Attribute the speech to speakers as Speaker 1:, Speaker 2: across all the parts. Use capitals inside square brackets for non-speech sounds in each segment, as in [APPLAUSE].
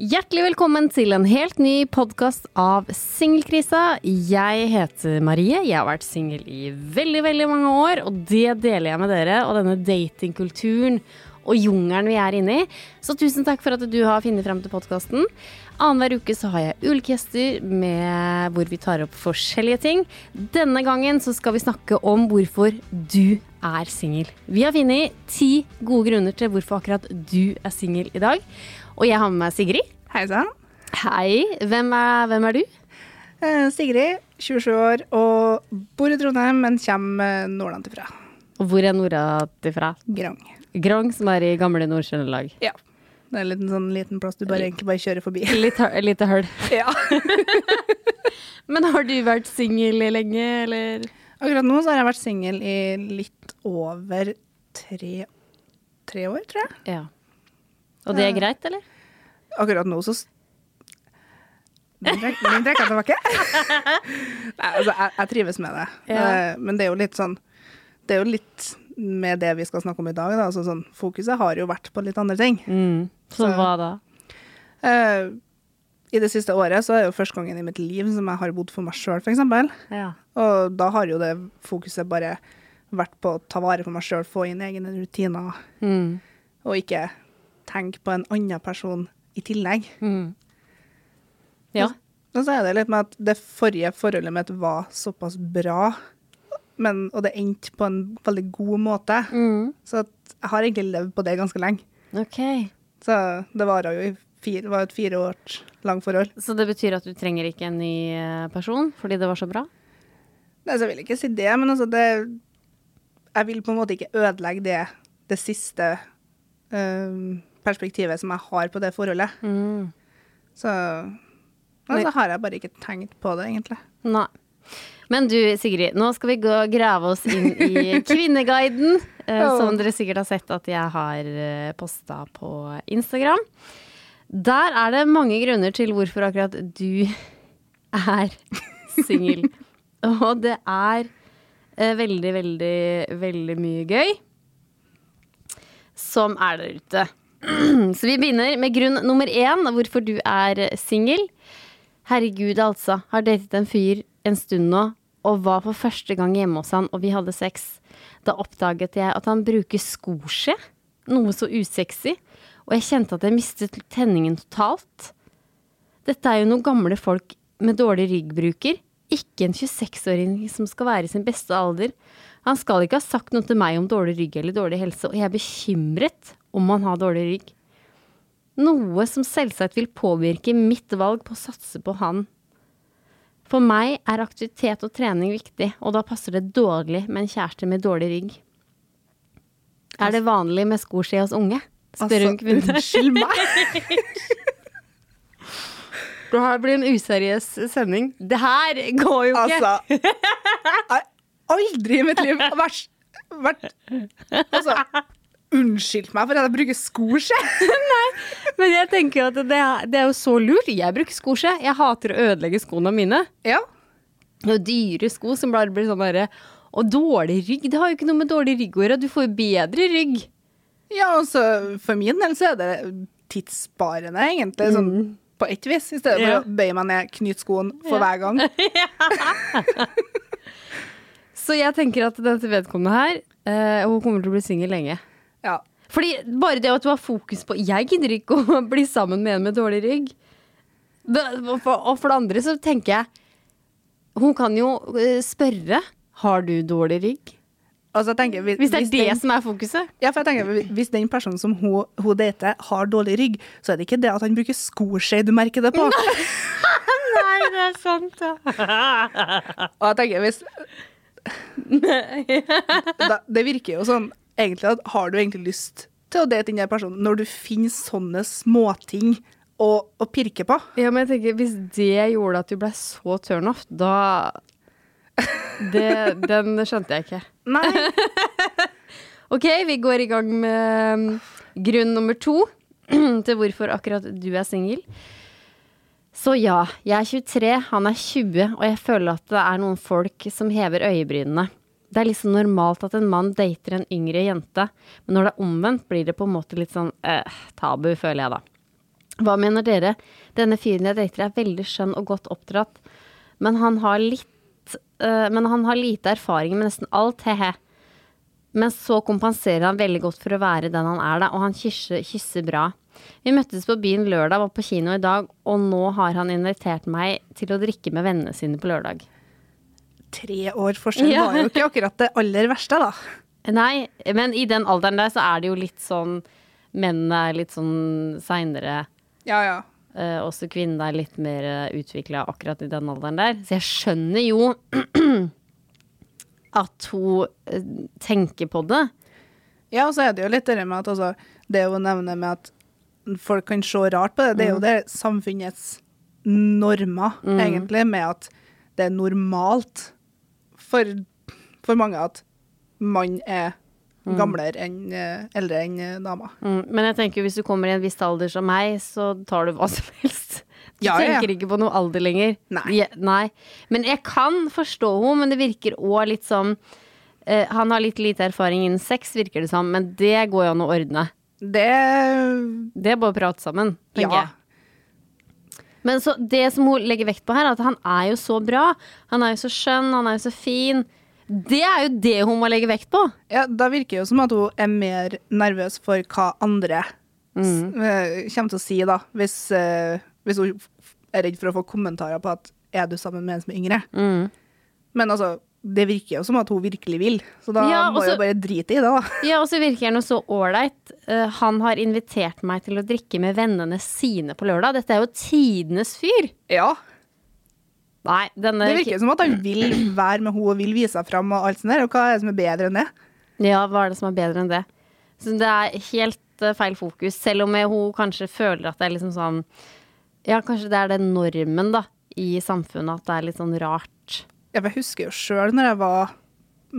Speaker 1: Hjertelig velkommen til en helt ny podkast av Singelkrisa. Jeg heter Marie. Jeg har vært singel i veldig, veldig mange år, og det deler jeg med dere. Og denne datingkulturen og jungelen vi er inne i. Så tusen takk for at du har funnet frem til podkasten. Annenhver uke så har jeg ulike gjester med hvor vi tar opp forskjellige ting. Denne gangen så skal vi snakke om hvorfor du er singel. Vi har funnet ti gode grunner til hvorfor akkurat du er singel i dag. Og jeg har med meg Sigrid.
Speaker 2: Hei sann.
Speaker 1: Hei, hvem er, hvem er du?
Speaker 2: Eh, Sigrid, 27 år, og bor i Trondheim, men kommer eh, Nordland ifra.
Speaker 1: Og hvor er Nora fra?
Speaker 2: Grong.
Speaker 1: Grong, som er i gamle Nord-Trøndelag.
Speaker 2: Ja. Det er en liten, sånn, liten plass du bare, egentlig bare kjører forbi.
Speaker 1: Litt hø- lite høl.
Speaker 2: [LAUGHS] ja.
Speaker 1: Men har du vært singel lenge, eller?
Speaker 2: Akkurat nå så har jeg vært singel i litt over tre, tre år, tror jeg.
Speaker 1: Ja. Og det er greit, eller?
Speaker 2: Akkurat nå så s- Den trekk- den trekker jeg tilbake. [LAUGHS] Nei, altså, jeg, jeg trives med det.
Speaker 1: Ja.
Speaker 2: Eh, Men det er jo litt sånn Det er jo litt med det vi skal snakke om i dag, da. Altså, sånn, fokuset har jo vært på litt andre ting.
Speaker 1: Som hva da?
Speaker 2: Eh, I det siste året så er det jo første gangen i mitt liv som jeg har bodd for meg sjøl, f.eks.
Speaker 1: Ja.
Speaker 2: Og da har jo det fokuset bare vært på å ta vare på meg sjøl, få inn egne rutiner,
Speaker 1: Mm.
Speaker 2: og ikke tenke på en annen person i tillegg.
Speaker 1: Mm. Ja.
Speaker 2: Men så er det litt med at det forrige forholdet mitt var såpass bra, men, og det endte på en veldig god måte,
Speaker 1: Mm.
Speaker 2: så at jeg har egentlig levd på det ganske lenge.
Speaker 1: Ok.
Speaker 2: Så det varer jo i fire, det var jo et fire år langt forhold.
Speaker 1: Så det betyr at du trenger ikke en ny eh, person fordi det var så bra?
Speaker 2: Nei, så jeg vil ikke si det, men altså det Jeg vil på en måte ikke ødelegge det, det siste øhm, perspektivet som jeg har på det forholdet. Så Men så har jeg bare ikke tenkt på det, egentlig.
Speaker 1: Nei. Men du, Sigrid, nå skal vi gå og grave oss inn i Kvinneguiden. eh,
Speaker 2: Ja.
Speaker 1: Som dere sikkert har sett at jeg har posta på Instagram. Der er det mange grunner til hvorfor akkurat du er singel. Og det er eh, veldig, veldig, veldig mye gøy som er der ute. [CLEARS THROAT] Så vi begynner med grunn nummer én, hvorfor du er singel. Herregud, altså. Har datet en fyr en stund nå, og var for første gang hjemme hos han, og vi hadde sex. Da oppdaget jeg at han bruker skoskje. Noe så usexy. Og jeg kjente at jeg mistet tenningen totalt. Dette er jo noen gamle folk med dårlig rygg bruker. Ikke en 26-åring som skal være i sin beste alder. Han skal ikke ha sagt noe til meg om dårlig rygg eller dårlig helse, og jeg er bekymret om han har dårlig rygg. Noe som selvsagt vil påvirke mitt valg på å satse på han. For meg er aktivitet og trening viktig, og da passer det dårlig med en kjæreste med dårlig rygg. Er det vanlig med skoskje hos unge? spør hun kvinnen.
Speaker 2: Altså, unnskyld meg! [LAUGHS]
Speaker 1: Det her blir en useriøs sending. Det her går jo ikke.
Speaker 2: Altså Jeg har aldri i mitt liv vært, vært Altså, unnskyldt meg for at jeg bruker skoskje!
Speaker 1: Men jeg tenker jo at det er, det er jo så lurt. Jeg bruker skoskje. Jeg hater å ødelegge skoene mine.
Speaker 2: [LAUGHS] Ja.
Speaker 1: Det er jo dyre sko som bare blir sånn derre Og dårlig rygg. Det har jo ikke noe med dårlig rygg å gjøre. Du får jo bedre rygg.
Speaker 2: ja, altså, for min del så er det tidssparende, egentlig. Sånn på ett vis. I stedet for
Speaker 1: Ja.
Speaker 2: å bøye meg ned, knyte skoen for hver gang.
Speaker 1: Så jeg tenker at dette vedkommende her, eh, hun kommer til å bli singel lenge.
Speaker 2: Ja.
Speaker 1: Fordi bare det at du har fokus på Jeg gidder ikke å [LAUGHS] bli sammen med en med dårlig rygg. Det, og, for, og for det andre så tenker jeg Hun kan jo eh, spørre Har du dårlig rygg.
Speaker 2: Altså, jeg tenker, hvis,
Speaker 1: Hvis det er det
Speaker 2: den,
Speaker 1: som er fokuset.
Speaker 2: ja, for jeg tenker, hvis- hvis den personen som hun, hun dater, har dårlig rygg, så er det ikke det at han bruker skoskje du merker det på.
Speaker 1: [LAUGHS] Nei, det er sant.
Speaker 2: [LAUGHS]
Speaker 1: [LAUGHS]
Speaker 2: Og jeg tenker, hvis da, Det virker jo sånn egentlig at har du egentlig lyst til å date den der personen når du finner sånne småting å, å pirke på.
Speaker 1: Ja, men jeg tenker, Hvis det gjorde at du ble så turnoff, [LAUGHS] da det, Den skjønte jeg ikke.
Speaker 2: Nei.
Speaker 1: [LAUGHS] Ok, vi går i gang med um, grunn nummer to [CLEARS THROAT] til hvorfor akkurat du er singel. Så ja, jeg er 23, han er 20, og jeg føler at det er noen folk som hever øyebrynene. Det er liksom normalt at en mann dater en yngre jente, men når det er omvendt, blir det på en måte litt sånn eh, tabu, føler jeg da. Hva mener dere? Denne fyren jeg dater er veldig skjønn og godt oppdratt, men han har litt eh, Men han har lite erfaring med nesten alt, he-he. Men så kompenserer han veldig godt for å være den han er, da, og han kysser, kysser bra. Vi møttes på byen lørdag, var på kino i dag, og nå har han invitert meg til å drikke med vennene sine på lørdag.
Speaker 2: Tre år forskjell
Speaker 1: Ja.
Speaker 2: var jo ikke akkurat det aller verste, da.
Speaker 1: Nei, men i den alderen der så er det jo litt sånn Mennene er litt sånn seinere,
Speaker 2: Ja, ja.
Speaker 1: eh, også kvinnene er litt mer utvikla akkurat i den alderen der. Så jeg skjønner jo [CLEARS THROAT] at hun eh, tenker på det.
Speaker 2: Ja, og så er det jo litt det der med at altså, det hun nevner med at folk kan se rart på det, det er jo det samfunnets normer, egentlig, med at det er normalt for, for mange at man er Mm. gamlere enn eh, eldre enn eh, dama.
Speaker 1: Mm, men jeg tenker hvis du kommer i en viss alder som meg, så tar du hva som helst. Du
Speaker 2: Ja, ja, ja.
Speaker 1: tenker ikke på noe alder lenger.
Speaker 2: Nei.
Speaker 1: Je- nei. Men jeg kan forstå henne, men det virker òg litt som eh, Han har litt lite erfaring innen sex, virker det som, men det går jo an å ordne.
Speaker 2: Det
Speaker 1: Det er bare å prate sammen, tenker
Speaker 2: Ja.
Speaker 1: jeg. Men så det som hun legger vekt på her, er at han er jo så bra. Han er jo så skjønn, han er jo så fin. Det er jo det hun må legge vekt på.
Speaker 2: Ja, da virker det jo som at hun er mer nervøs for hva andre
Speaker 1: Mm.
Speaker 2: s- eh, kommer til å si, da. Hvis, eh, hvis hun f- er redd for å få kommentarer på at er du sammen med en som er yngre?
Speaker 1: Mm.
Speaker 2: Men altså, det virker jo som at hun virkelig vil, så da
Speaker 1: Ja, altså-
Speaker 2: må
Speaker 1: og så-
Speaker 2: jeg jo bare drite i det, da.
Speaker 1: Ja, og så virker han jo så ålreit. Eh, han har invitert meg til å drikke med vennene sine på lørdag. Dette er jo tidenes fyr.
Speaker 2: Ja,
Speaker 1: Nei, denne
Speaker 2: det virker jo som at han vil være med henne og vil vise seg fram og alt sånt der, og hva er det som er bedre enn det?
Speaker 1: Ja, hva er det som er bedre enn det? Så det er helt eh, feil fokus, selv om jeg, hun kanskje føler at det er liksom sånn Ja, kanskje det er den normen, da, i samfunnet, at det er litt sånn rart.
Speaker 2: Ja, for Jeg husker jo sjøl når jeg var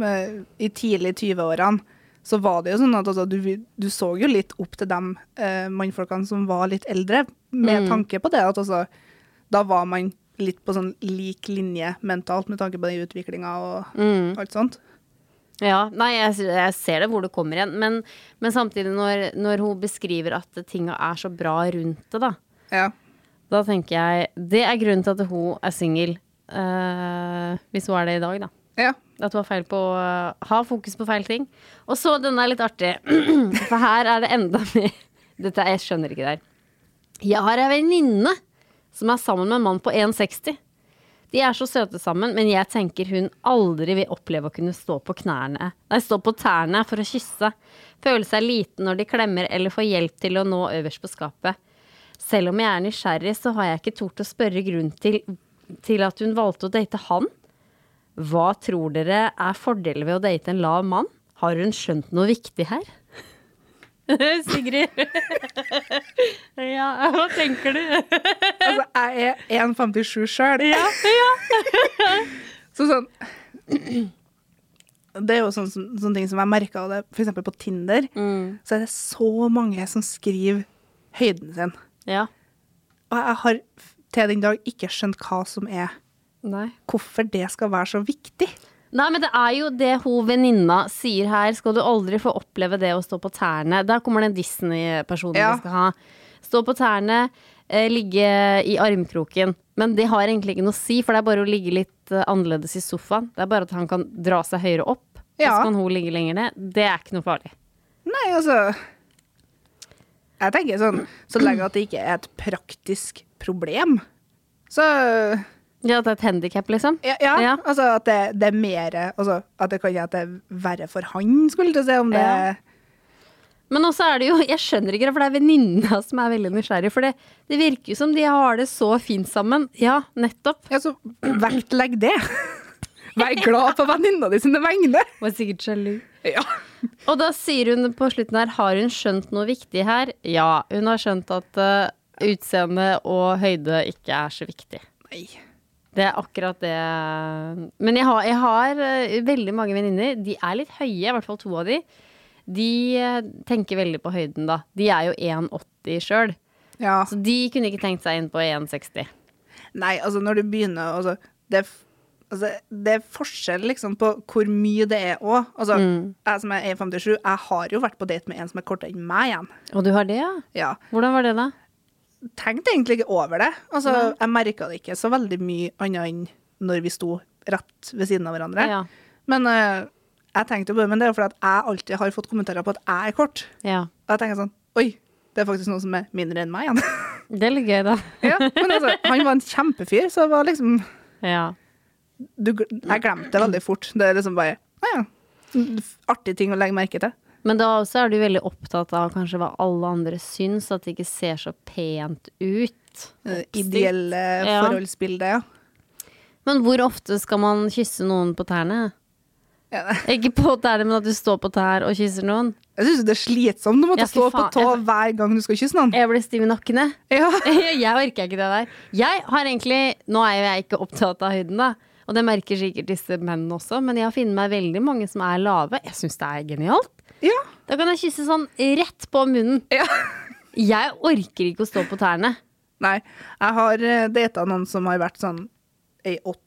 Speaker 2: eh, i tidlig 20-årene, så var det jo sånn at altså, du, du så jo litt opp til de eh, mannfolkene som var litt eldre, med tanke på det at altså, da var man litt på sånn lik linje mentalt med tanke på den utviklinga og alt sånt.
Speaker 1: Ja, nei, jeg, jeg ser det hvor det kommer igjen, men, men samtidig, når, når hun beskriver at tinga er så bra rundt det, da,
Speaker 2: Ja.
Speaker 1: Da tenker jeg Det er grunnen til at hun er singel. eh, hvis hun er det i dag, da.
Speaker 2: ja.
Speaker 1: At hun har feil på å ha fokus på feil ting. Og så denne er litt artig. [CLEARS THROAT] For her er det enda mer Dette Jeg skjønner ikke det her. Jeg har ei venninne som er sammen med en mann på 1,60. De er så søte sammen, men jeg tenker hun aldri vil oppleve å kunne stå på knærne Nei, stå på tærne for å kysse. Føle seg liten når de klemmer eller får hjelp til å nå øverst på skapet. Selv om jeg er nysgjerrig, så har jeg ikke tort å spørre grunnen til, til at hun valgte å date han. Hva tror dere er fordelen ved å date en lav mann? Har hun skjønt noe viktig her? [LAUGHS] Sigrid. ja, hva tenker du?
Speaker 2: Altså, jeg er 1,57 sjøl. [LAUGHS] så sånn Det er jo sånn, sånn, sånn ting som jeg merka det, f.eks. på Tinder, så er det så mange som skriver høyden sin.
Speaker 1: Ja.
Speaker 2: Og jeg har f- til den dag ikke skjønt hva som er
Speaker 1: Nei.
Speaker 2: Hvorfor det skal være så viktig.
Speaker 1: Nei, men det er jo det hun venninna sier her. Skal du aldri få oppleve det å stå på tærne? Der kommer den Disney-personen
Speaker 2: Ja.
Speaker 1: vi skal ha. Stå på tærne, eh, ligge i armkroken. Men det har egentlig ikke noe å si, for det er bare å ligge litt eh, annerledes i sofaen. Det er bare at han kan dra seg høyere opp, og
Speaker 2: Ja.
Speaker 1: så kan hun ligge lenger ned. Det er ikke noe farlig.
Speaker 2: Nei, altså Jeg tenker sånn Så lenge at det ikke er et praktisk problem, så
Speaker 1: Ja, det er et handikap, liksom?
Speaker 2: Ja, ja,
Speaker 1: Ja.
Speaker 2: altså at det, det er mer altså, At det kan hende at det er verre for han, skulle jeg til å si. Om det
Speaker 1: Ja. Men også er det jo, jeg skjønner ikke det, for det er venninna som er veldig nysgjerrig. For det, det virker jo som de har det så fint sammen. Ja, nettopp.
Speaker 2: Ja, så [LAUGHS] vektlegg det. Vær glad på venninna di sine vegne.
Speaker 1: Var sikkert sjalu.
Speaker 2: Ja.
Speaker 1: Og da sier hun på slutten her Har hun skjønt noe viktig her? Ja, hun har skjønt at eh, utseende og høyde ikke er så viktig.
Speaker 2: Nei.
Speaker 1: Det er akkurat det Men jeg har, jeg har eh, veldig mange venninner. De er litt høye, i hvert fall to av de. De eh, tenker veldig på høyden, da. De er jo 1,80 sjøl.
Speaker 2: Ja.
Speaker 1: Så de kunne ikke tenkt seg inn på 1,60.
Speaker 2: Nei, altså, når du begynner altså, det, er f- altså, det er forskjell liksom på hvor mye det er òg. Altså, jeg som er 1,57, jeg har jo vært på date med en som er kortere enn meg igjen.
Speaker 1: Og du har det, ja?
Speaker 2: Ja.
Speaker 1: Hvordan var det, da?
Speaker 2: Tenkte egentlig ikke over det. Altså, jeg merka det ikke så veldig mye annet enn når vi sto rett ved siden av hverandre.
Speaker 1: Ja.
Speaker 2: Men eh, jeg tenkte jo på det, men det er jo fordi at jeg alltid har fått kommentarer på at jeg er kort.
Speaker 1: ja.
Speaker 2: Og jeg tenker sånn Oi, det er faktisk noen som er mindre enn meg igjen.
Speaker 1: Det er litt gøy, da.
Speaker 2: ja, [LAUGHS] men altså, han var en kjempefyr, så det var liksom
Speaker 1: [LAUGHS] Ja.
Speaker 2: du, gl- Jeg glemte det veldig fort. Det er liksom bare Å ja. Artig ting å legge merke til.
Speaker 1: Men da også er du veldig opptatt av kanskje hva alle andre syns, at det ikke ser så pent ut.
Speaker 2: Det Eh, ideelle
Speaker 1: Ja.
Speaker 2: forholdsbildet, ja.
Speaker 1: Men hvor ofte skal man kysse noen på tærne?
Speaker 2: ja. det-
Speaker 1: Ikke på tærne, men at du står på tær og kysser noen.
Speaker 2: Jeg syns det er slitsomt å måtte
Speaker 1: Ja, fy
Speaker 2: stå på
Speaker 1: faen,
Speaker 2: tå
Speaker 1: jeg-
Speaker 2: hver gang du skal kysse noen.
Speaker 1: Jeg blir stiv i nakkene. [LAUGHS]
Speaker 2: Ja.
Speaker 1: jeg orker ikke det der. Jeg har egentlig Nå er jo jeg ikke opptatt av høyden, da. Og det merker sikkert disse mennene også, men jeg har funnet meg veldig mange som er lave. Jeg syns det er genialt.
Speaker 2: ja.
Speaker 1: Da kan jeg kysse sånn rett på munnen.
Speaker 2: [LAUGHS] Ja.
Speaker 1: Jeg orker ikke å stå på tærne.
Speaker 2: Nei. Jeg har eh, data noen som har vært sånn i 80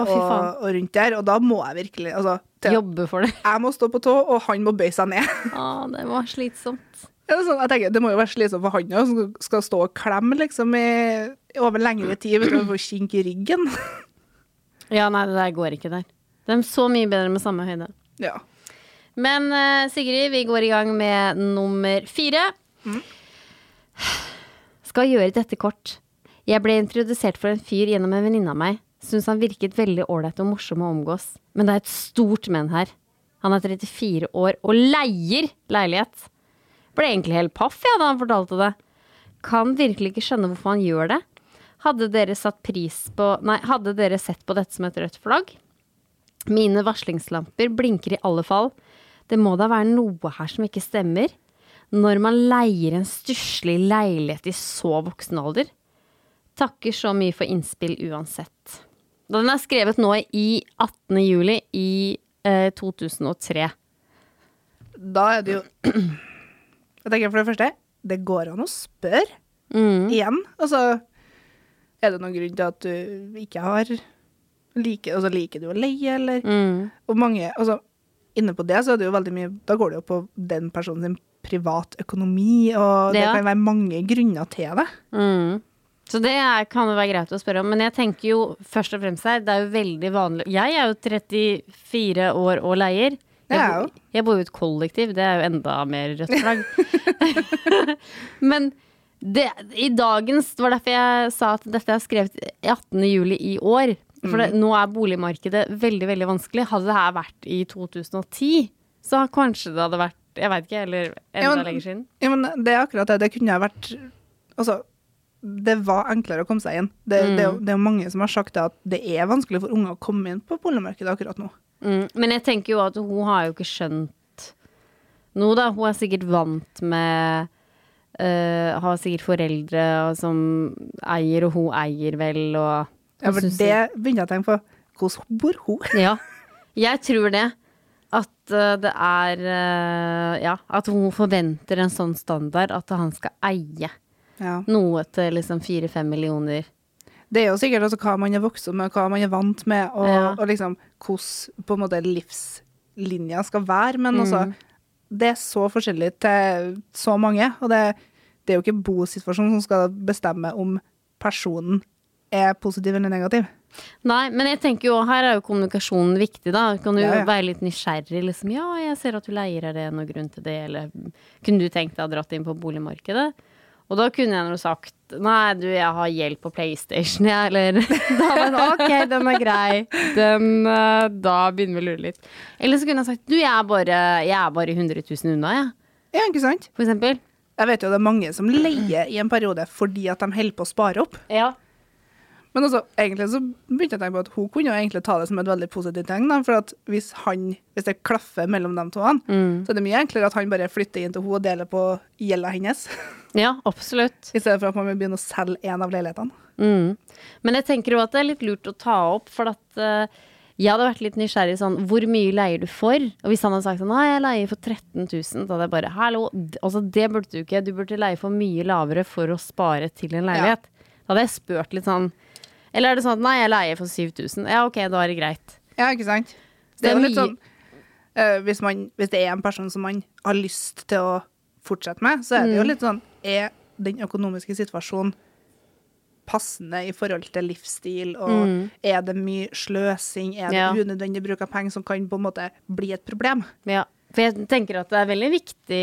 Speaker 1: Å, fy
Speaker 2: og,
Speaker 1: faen.
Speaker 2: og rundt der, og da må jeg virkelig altså, til,
Speaker 1: Jobbe for det.
Speaker 2: Jeg må stå på tå, og han må bøye seg ned. [LAUGHS]
Speaker 1: Å, det var slitsomt.
Speaker 2: Ja, det er sånn, jeg tenker, Det må jo være slitsomt for han òg, som skal stå og klemme liksom, i, over lengre tid uten å få kink i ryggen. [LAUGHS]
Speaker 1: Ja, nei, det der går ikke der. De er så mye bedre med samme høyde.
Speaker 2: Ja.
Speaker 1: Men eh, Sigrid, vi går i gang med nummer fire. Skal gjøre dette kort. Jeg ble introdusert for en fyr gjennom en venninne av meg. Syns han virket veldig ålreit og morsom å omgås. Men det er et stort men her. Han er 34 år og leier leilighet. Ble egentlig helt paff ja, da han fortalte det. Kan virkelig ikke skjønne hvorfor han gjør det. Hadde dere, satt pris på, nei, hadde dere sett på dette som et rødt flagg? Mine varslingslamper blinker i alle fall. Det må da være noe her som ikke stemmer? Når man leier en stusslig leilighet i så voksen alder? Takker så mye for innspill uansett. Den er skrevet nå i 18. juli i eh, 2003.
Speaker 2: Da er det jo [CLEARS THROAT] Jeg tenker for det første, det går an å spørre igjen. Altså, er det noen grunn til at du ikke har like, altså, Liker du å leie, eller? Og mange altså, Inne på det så er det jo veldig mye Da går det jo på den personen sin privatøkonomi, og det
Speaker 1: Ja.
Speaker 2: kan være mange grunner til det.
Speaker 1: Så det er, kan jo være greit å spørre om, men jeg tenker jo først og fremst her, det er jo veldig vanlig Jeg er jo 34 år og leier.
Speaker 2: Det er
Speaker 1: bo-
Speaker 2: jo.
Speaker 1: jeg bor jo i et kollektiv, det er jo enda mer rødt flagg. [LAUGHS] men det, i dagens Det var derfor jeg sa at dette er skrevet 18. juli i år. For det,
Speaker 2: Mm.
Speaker 1: nå er boligmarkedet veldig, veldig vanskelig. Hadde det her vært i 2010, så kanskje det hadde vært Jeg veit ikke, eller enda
Speaker 2: Ja, men-
Speaker 1: lenger siden.
Speaker 2: Ja, men det er akkurat det. Det kunne ha vært Altså, det var enklere å komme seg inn. Det, det, er jo- det er jo mange som har sagt det at det er vanskelig for unger å komme inn på boligmarkedet akkurat nå.
Speaker 1: Mm, men jeg tenker jo at hun har jo ikke skjønt noe, da. Hun er sikkert vant med øh, Har sikkert foreldre og som eier, og hun eier vel, og
Speaker 2: Ja,
Speaker 1: hun
Speaker 2: for
Speaker 1: synes
Speaker 2: det begynte jeg å tenke på. Hvordan bor hun?
Speaker 1: [LAUGHS] Ja. Jeg tror det. At øh, det er øh, Ja, at hun forventer en sånn standard, at han skal eie
Speaker 2: Ja.
Speaker 1: noe til liksom fire-fem millioner.
Speaker 2: Det er jo sikkert altså, hva man er vokst opp med, hva man er vant med, og,
Speaker 1: Ja.
Speaker 2: og liksom hvordan på en måte livslinja skal være. Men
Speaker 1: Mm.
Speaker 2: altså, det er så forskjellig til så mange, og det, det er jo ikke bosituasjonen som skal bestemme om personen er positiv eller negativ.
Speaker 1: Nei, men jeg tenker jo, her er jo kommunikasjonen viktig, da. Kan du
Speaker 2: Ja, ja.
Speaker 1: være litt nysgjerrig, liksom. Ja, jeg ser at du leier, er det noen grunn til det, eller kunne du tenkt deg å dratt inn på boligmarkedet? Og da kunne jeg nå sagt nei, du, jeg har hjelp på PlayStation, jeg, eller [LAUGHS] Da var det ok, den er grei. Den eh, Da begynner vi å lure litt. Eller så kunne jeg sagt du, jeg er bare, jeg er bare 100 000 unna, jeg,
Speaker 2: Ja, ikke sant?
Speaker 1: for eksempel.
Speaker 2: Jeg vet jo det er mange som leier i en periode fordi at de holder på å spare opp.
Speaker 1: Ja.
Speaker 2: Men også, egentlig så begynte jeg å tenke på at hun kunne jo egentlig ta det som et veldig positivt tegn. Da, for at hvis, han, hvis det klaffer mellom de to, så er det mye enklere at han bare flytter inn til hun og deler på gjelda hennes. [LAUGHS]
Speaker 1: Ja, absolutt.
Speaker 2: I stedet for at man vil begynne å selge en av leilighetene.
Speaker 1: Mm. Men jeg tenker jo at det er litt lurt å ta opp, for at eh, jeg hadde vært litt nysgjerrig sånn Hvor mye leier du for? Og hvis han hadde sagt sånn Nei, jeg leier for 13 000, da hadde jeg bare Hallo, d- altså det burde du ikke. Du burde leie for mye lavere for å spare til en leilighet. Da hadde jeg spurt litt sånn Eller er det sånn at nei, jeg leier for 7000. Ja, ok, da er det greit.
Speaker 2: Ja, ikke sant?
Speaker 1: Så det
Speaker 2: Det
Speaker 1: er
Speaker 2: er jo litt
Speaker 1: mye-
Speaker 2: sånn eh, hvis, man, hvis det er en person som man har lyst til å fortsette med, så er
Speaker 1: Mm.
Speaker 2: det jo litt sånn Er den økonomiske situasjonen passende i forhold til livsstil, og er det mye sløsing, er
Speaker 1: Mm.
Speaker 2: det
Speaker 1: Ja.
Speaker 2: unødvendig bruk av penger som kan på en måte bli et problem?
Speaker 1: Ja, for jeg tenker at det er veldig viktig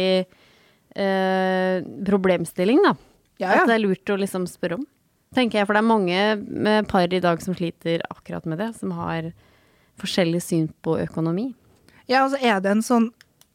Speaker 1: eh, problemstilling, da.
Speaker 2: Ja, ja.
Speaker 1: At det er lurt å liksom spørre om. Tenker jeg, for det er mange eh, par i dag som sliter akkurat med det, som har forskjellig syn på økonomi.
Speaker 2: Ja, altså er det en sånn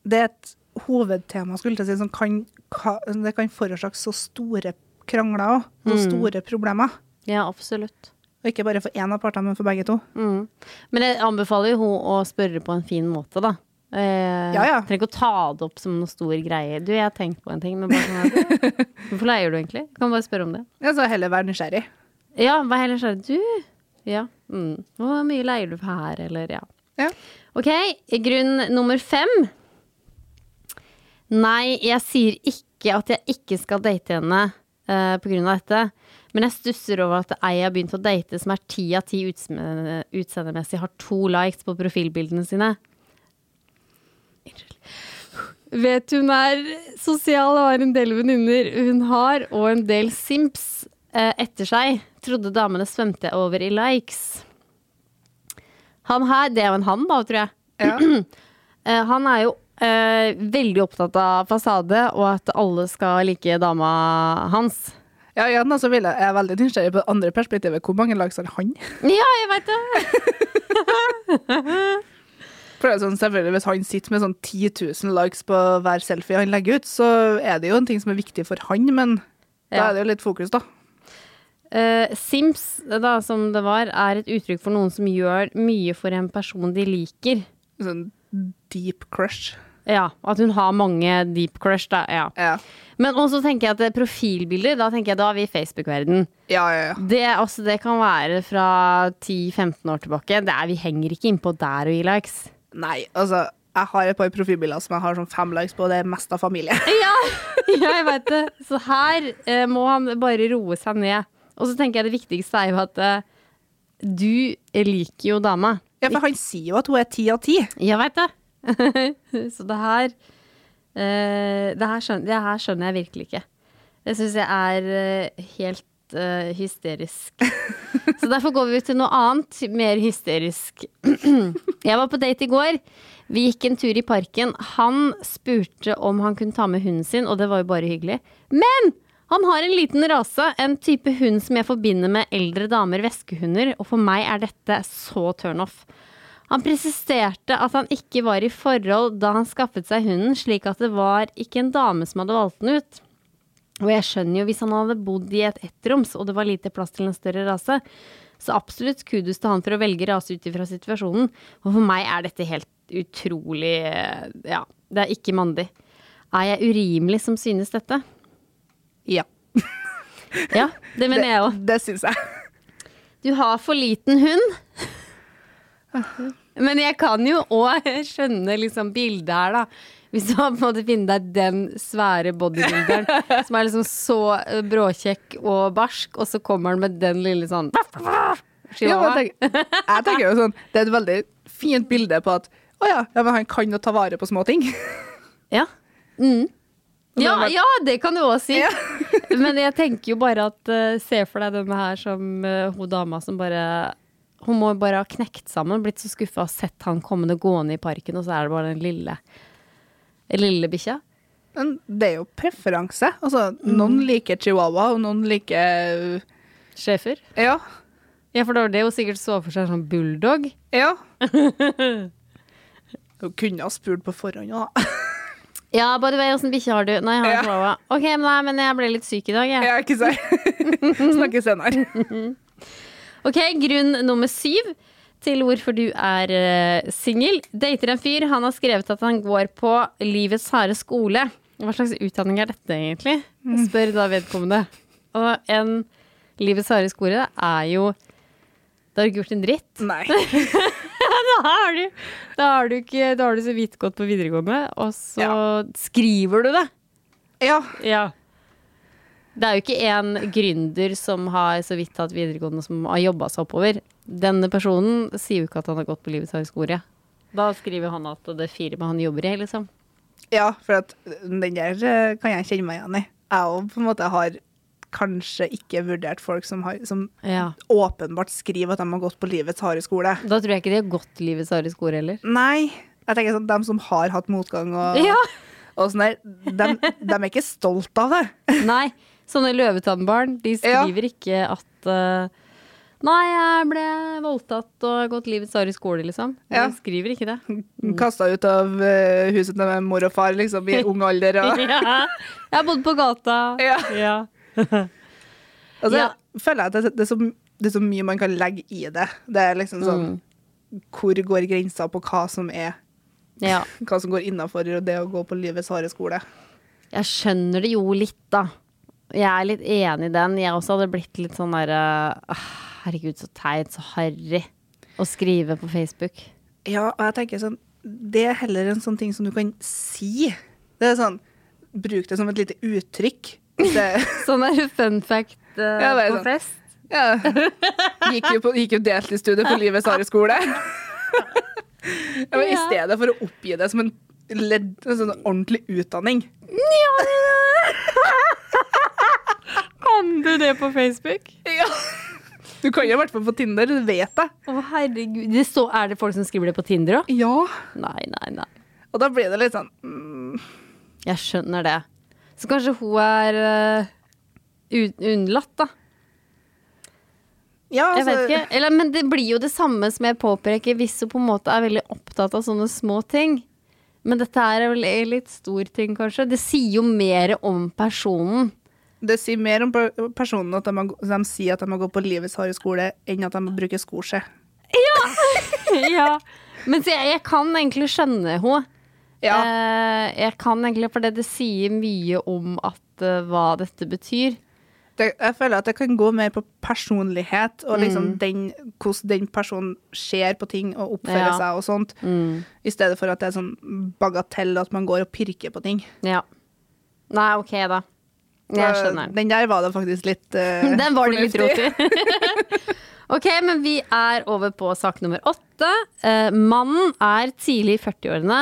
Speaker 2: Det er et hovedtema, skulle jeg til å si, som kan, ka, det kan forårsake så store krangler òg. Så
Speaker 1: Mm.
Speaker 2: store problemer.
Speaker 1: Ja, absolutt.
Speaker 2: Og ikke bare for én av partene, men for begge to.
Speaker 1: Mm. Men jeg anbefaler jo hun å spørre på en fin måte, da. Eh,
Speaker 2: Ja, ja.
Speaker 1: Trenger ikke å ta det opp som noe stor greie. Du, jeg har tenkt på en ting, men bare sånn
Speaker 2: [LAUGHS]
Speaker 1: her, Hvorfor leier du egentlig? Kan bare spørre om det.
Speaker 2: Ja, så heller være nysgjerrig.
Speaker 1: Ja, hva heller skjer? Du? Ja. Mm. Hvor mye leier du for her, eller ja.
Speaker 2: Ja.
Speaker 1: Ok, grunn nummer fem. Nei, jeg sier ikke at jeg ikke skal date henne eh, på grunn av dette. Men jeg stusser over at ei jeg har begynt å date som er ti av ti utseende- utseendemessig, har to likes på profilbildene sine. Unnskyld. Vet hun er sosial og har en del venninner hun har, og en del simps eh, etter seg. Trodde damene svømte over i likes. Han her, det er jo en han da, tror jeg.
Speaker 2: Ja.
Speaker 1: [CLEARS THROAT] Eh, han er jo eh, veldig opptatt av fasade, og at alle skal like dama hans.
Speaker 2: Ja, igjen da, så vil jeg, jeg er veldig nysgjerrig på det andre perspektivet. Hvor mange lag har han? [LAUGHS]
Speaker 1: Ja, jeg veit det!
Speaker 2: For det er sånn, selvfølgelig Hvis han sitter med sånn 10 000 likes på hver selfie han legger ut, så er det jo en ting som er viktig for han, men da
Speaker 1: Ja.
Speaker 2: er det jo litt fokus, da.
Speaker 1: [LAUGHS] Eh, Sims, da, som det var, er et uttrykk for noen som gjør mye for en person de liker.
Speaker 2: Sånn deep crush.
Speaker 1: Ja, At hun har mange deep crush, da. Ja.
Speaker 2: Ja,
Speaker 1: Men også tenker jeg at eh, profilbilder, da tenker jeg da er vi i Facebook-verden.
Speaker 2: ja, ja. ja.
Speaker 1: Det, altså, det kan være fra 10-15 år tilbake. Det er, vi henger ikke innpå der og gir likes.
Speaker 2: Nei, altså, jeg har et par profilbilder som jeg har sånn fem likes på, og det er mest av familie. [LAUGHS]
Speaker 1: Ja, [LAUGHS] jeg veit det. Så her eh, må han bare roe seg ned. Og så tenker jeg det viktigste er jo at eh, du liker jo dama.
Speaker 2: Ja, for han sier jo at hun er ti av ti.
Speaker 1: Jeg veit det. [LAUGHS] så det her eh, det her, skjønner, det her skjønner jeg virkelig ikke. Det syns jeg er eh, helt eh, hysterisk. Så derfor går vi til noe annet, mer hysterisk. [CLEARS THROAT] Jeg var på date i går. Vi gikk en tur i parken. Han spurte om han kunne ta med hunden sin, og det var jo bare hyggelig. Men han har en liten rase, en type hund som jeg forbinder med eldre damer, veskehunder, og for meg er dette så turnoff. Han presisterte at han ikke var i forhold da han skaffet seg hunden, slik at det var ikke en dame som hadde valgt den ut. Og jeg skjønner jo, hvis han hadde bodd i et ettroms, og det var lite plass til en større rase, så absolutt kudos til han for å velge rase ut ifra situasjonen. Og for meg er dette helt utrolig eh, Ja, det er ikke mandig. Er jeg urimelig som synes dette?
Speaker 2: Ja,
Speaker 1: Ja, det mener jeg òg.
Speaker 2: det syns jeg.
Speaker 1: Du har for liten hund. Men jeg kan jo òg skjønne liksom bildet her, da. Hvis du har på en måte finner deg den svære bodybuilderen som er liksom så eh, bråkjekk og barsk, og så kommer han med den lille sånn
Speaker 2: Ja, men
Speaker 1: chihuahua.
Speaker 2: jeg, tenker, jeg tenker jo sånn, det er et veldig fint bilde på at å ja, ja, men han kan jo ta vare på små ting. [LAUGHS]
Speaker 1: Ja. Mm. Ja,
Speaker 2: var-
Speaker 1: ja, det kan du òg si. [LAUGHS] Men jeg tenker jo bare at eh, se for deg denne her som eh, hun dama som bare Hun må bare ha knekt sammen, blitt så skuffa og sett han kommende gående i parken, og så er det bare den lille Lille bikkja.
Speaker 2: Men det er jo preferanse. Altså, noen liker chihuahua, og noen liker
Speaker 1: Schæfer.
Speaker 2: Ja.
Speaker 1: Ja, for det var det hun sikkert så for seg som bulldog.
Speaker 2: [LAUGHS] Ja. Hun kunne ha spurt på forhånd, ja. [LAUGHS]
Speaker 1: Ja, by the way, åssen bikkje har du? Nei, jeg har
Speaker 2: Ja.
Speaker 1: en chihuahua.
Speaker 2: [LAUGHS]
Speaker 1: Ok, men nei, men jeg ble litt syk i dag, jeg.
Speaker 2: Jeg er ikke sikker. Snakkes senere.
Speaker 1: Ok, grunn nummer syv til hvorfor du er eh, singel. Dater en fyr, han har skrevet at han går på livets harde skole. Hva slags utdanning er dette egentlig? Spør da vedkommende. Og en livets harde skole er jo Da har du ikke gjort en dritt.
Speaker 2: [LAUGHS] Nei.
Speaker 1: Da har du, da har du, ikke, da har du så vidt gått på videregående, og så
Speaker 2: Ja.
Speaker 1: skriver du det.
Speaker 2: Ja.
Speaker 1: Ja. Det er jo ikke en gründer som har så vidt tatt videregående som har jobba seg oppover. Denne personen sier jo ikke at han har gått på livets høgskole. Da skriver han at det firmaet han jobber i, liksom.
Speaker 2: ja, for at den der eh, kan jeg kjenne meg igjen i. Jeg òg på en måte har kanskje ikke vurdert folk som, har, som
Speaker 1: Ja.
Speaker 2: åpenbart skriver at de har gått på livets harde skole.
Speaker 1: Da tror jeg ikke de har gått livets harde skole heller.
Speaker 2: Nei. Jeg tenker sånn, De som har hatt motgang og,
Speaker 1: Ja!
Speaker 2: og sånn der, de, de er ikke stolt av det.
Speaker 1: Nei, sånne løvetannbarn, de skriver ikke at eh, Nei, jeg ble voldtatt og har gått livets harde skole, liksom.
Speaker 2: Ja.
Speaker 1: De skriver ikke det.
Speaker 2: Kasta ut av eh, huset til mor og far liksom, i ung alder. [LAUGHS] Og,
Speaker 1: [LAUGHS] Ja. Jeg har bodd på gata.
Speaker 2: Ja.
Speaker 1: ja.
Speaker 2: altså,
Speaker 1: Ja.
Speaker 2: føler jeg at det, det, er så, det er så mye man kan legge i det. Det er liksom sånn Hvor går grensa på hva som er
Speaker 1: ja.
Speaker 2: hva som går innafor det å gå på livets harde skole?
Speaker 1: Jeg skjønner det jo litt, da. Jeg er litt enig i den. Jeg også hadde blitt litt sånn derre «Åh, Herregud, så teit, så harry å skrive på Facebook.
Speaker 2: Ja, og jeg tenker sånn Det er heller en sånn ting som du kan si. Det er sånn Bruk det som et lite uttrykk. Det,
Speaker 1: Sånn er fun fact eh,
Speaker 2: Ja, det er
Speaker 1: på
Speaker 2: sånn.
Speaker 1: fest.
Speaker 2: ja. Gikk jo, på- gikk jo deltidsstudie på livets harde skole. Ja, men I
Speaker 1: Ja.
Speaker 2: stedet for å oppgi det som en, ledd, en sånn ordentlig utdanning.
Speaker 1: [LAUGHS] Kan du det på Facebook?
Speaker 2: Ja. Du kan jo i hvert fall på Tinder, du vet det.
Speaker 1: Å, herregud. Det står- er det folk som skriver det på Tinder òg?
Speaker 2: Ja.
Speaker 1: Nei, nei, nei.
Speaker 2: Og da blir det litt sånn mm,
Speaker 1: Jeg skjønner det. Så kanskje hun er eh, un- unnlatt, da.
Speaker 2: Ja,
Speaker 1: Jeg vet
Speaker 2: altså-
Speaker 1: ikke. Eller, men det blir jo det samme som jeg påpeker hvis du på en måte er veldig opptatt av sånne små ting. Men dette er vel en litt stor ting, kanskje. Det sier jo mer om
Speaker 2: [LAUGHS]
Speaker 1: personen.
Speaker 2: Det sier mer om per- personen at de, har, de sier at de har gått på livets harde skole, enn at de bruker skoskje.
Speaker 1: ja. Men så jeg, jeg kan egentlig skjønne henne.
Speaker 2: Ja.
Speaker 1: Eh, jeg kan egentlig, for det, det sier mye om at, eh, hva dette betyr.
Speaker 2: Det, jeg føler at det kan gå mer på personlighet, og liksom
Speaker 1: Mm.
Speaker 2: den, hvordan den personen ser på ting og oppfører
Speaker 1: Ja. Mm.
Speaker 2: seg og sånt, i stedet for at det er sånn bagatell at man går og pirker på ting.
Speaker 1: Ja. Nei, OK, da. Jeg skjønner.
Speaker 2: Den der var det faktisk litt eh,
Speaker 1: [LAUGHS] Den var det litt rot
Speaker 2: fornuftig.
Speaker 1: i. [LAUGHS] ok, men vi er over på sak nummer åtte. Eh, mannen er tidlig i 40-årene.